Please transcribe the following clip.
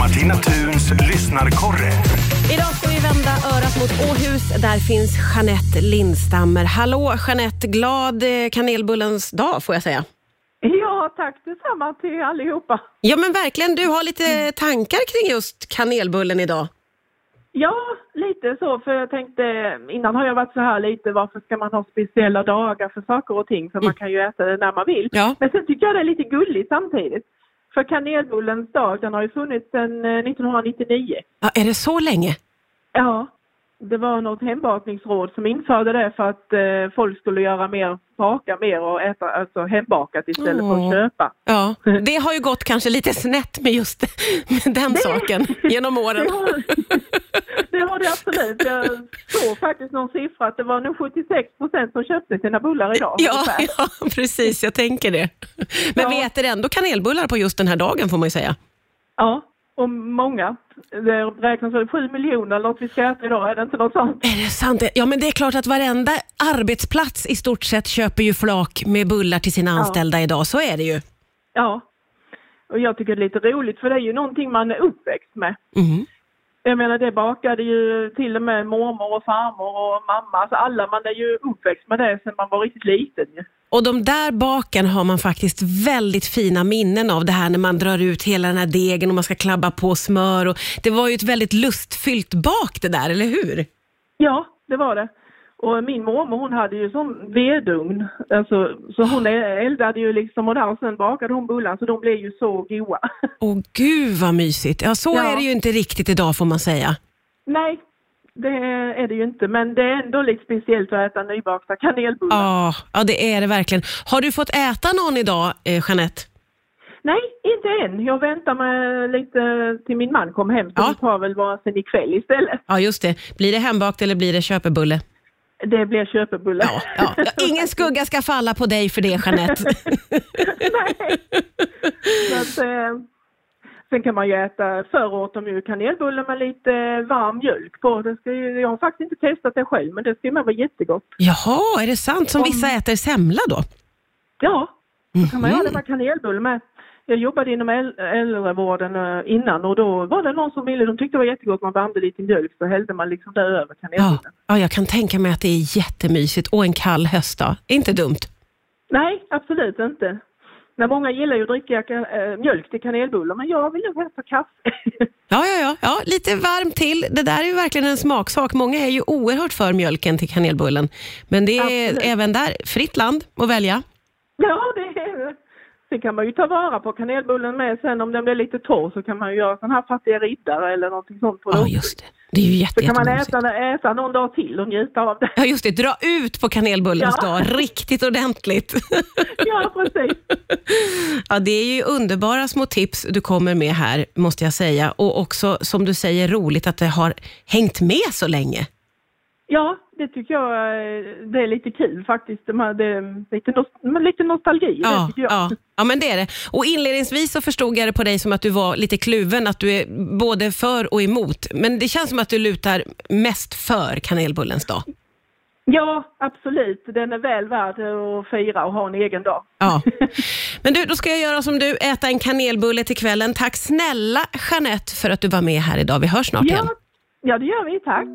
Tuns lyssnarkorre. Idag ska vi vända örat mot Åhus. Där finns Jeanette Lindstammer. Hallå Jeanette, glad eh, kanelbullens dag får jag säga. Ja, tack detsamma till allihopa. Ja men verkligen, du har lite tankar kring just kanelbullen idag. Ja, lite så, för jag tänkte innan har jag varit så här lite, varför ska man ha speciella dagar för saker och ting? För man kan ju äta det när man vill. Mm. Ja. Men sen tycker jag det är lite gulligt samtidigt. För kanelbullens dag, den har ju funnits sedan eh, 1999. Ja, är det så länge? Ja, det var något hembakningsråd som införde det för att eh, folk skulle göra mer, baka mer och äta alltså hembakat istället för Åh. att köpa. Ja, det har ju gått kanske lite snett med just med den saken genom åren. Det har, det har det absolut. Jag såg faktiskt någon siffra att det var nog 76 procent som köpte sina bullar idag. Ja, ungefär. ja, precis, jag tänker det. Men Ja. vi äter ändå kanelbullar på just den här dagen får man ju säga. ja. Och många. Det räknas väl 7 miljoner eller något vi ska äta idag, är det inte något sånt? Är det sant? Ja, men det är klart att varenda arbetsplats i stort sett köper ju flak med bullar till sina anställda idag. Så är det ju. Ja. Och jag tycker det är lite roligt för det är ju någonting man är uppväxt med. Mm. Jag menar det bakade ju till och med mormor och farmor och mamma, alltså alla man är ju uppväxt med det sedan man var riktigt liten ju. Och de där baken har man faktiskt väldigt fina minnen av. Det här när man drar ut hela den här degen och man ska klabba på smör. Och det var ju ett väldigt lustfyllt bak det där, eller hur? Ja, det var det. Och min mormor hon hade ju sån vedugn, alltså, så hon eldade ju liksom och där och sen bakade hon bullan så de blev ju så goa. Åh gud vad mysigt. Ja, så Ja. är det ju inte riktigt idag får man säga. Nej, det är det ju inte men det är ändå lite speciellt att äta nybakta kanelbullar. Ja, ja, det är det verkligen. Har du fått äta någon idag, eh, Jeanette? Nej, inte än. Jag väntar med lite till min man kom hem så Ja. vi tar väl varsin ikväll istället. Ja, just det. Blir det hembakt eller blir det köpebulle? Det blir köpebulle. Ja, ja. Ingen skugga ska falla på dig för det, Jeanette. Nej. Så att, eh, sen kan man ju äta, förr åt de ju kanelbullar med lite varm mjölk på. Det ska ju, jag har faktiskt inte testat det själv men det ska ju med vara jättegott. Jaha, är det sant? Som vissa äter semla då? Ja, då kan man ju ha det med kanelbulle med. Jag jobbade inom äl- äldrevården eh, innan och då var det någon som ville, de tyckte det var jättegott, man värmde lite mjölk så hällde man liksom det över Ja. kanelbullen. ja, jag kan tänka mig att det är jättemysigt och en kall höstdag. Inte dumt. Nej, absolut inte. Nej, många gillar ju att dricka eh, mjölk till kanelbullar men jag vill nog helst ha kaffe. Ja, ja, ja, ja, lite varmt till. Det där är ju verkligen en smaksak. Många är ju oerhört för mjölken till kanelbullen. Men det är Absolut. även där fritt land att välja. Ja, det är det. Sen kan man ju ta vara på kanelbullen med. Sen om den blir lite torr så kan man ju göra sån här fattiga riddare eller någonting sånt på Ja, det. just det. Det är ju jätte, Så kan man jättemysigt. äta, den- äta någon dag till och njuta av det. Ja, just det. Dra ut på kanelbullens Ja. dag riktigt ordentligt. Ja, precis. Ja, det är ju underbara små tips du kommer med här, måste jag säga. Och också, som du säger, roligt att det har hängt med så länge. Ja, det tycker jag eh, det är lite kul faktiskt. De här- Det är lite, nos- men lite nostalgi, i det Ja, tycker jag. ja, ja, men det är det. Och inledningsvis så förstod jag det på dig som att du var lite kluven, att du är både för och emot. Men det känns som att du lutar mest för kanelbullens dag. ja, absolut. Den är väl värd att fira och ha en egen dag. Ja. Men du, då ska jag göra som du, äta en kanelbulle till kvällen. Tack snälla Jeanette för att du var med här idag. Vi hörs snart igen. Ja, ja det gör vi. Tack.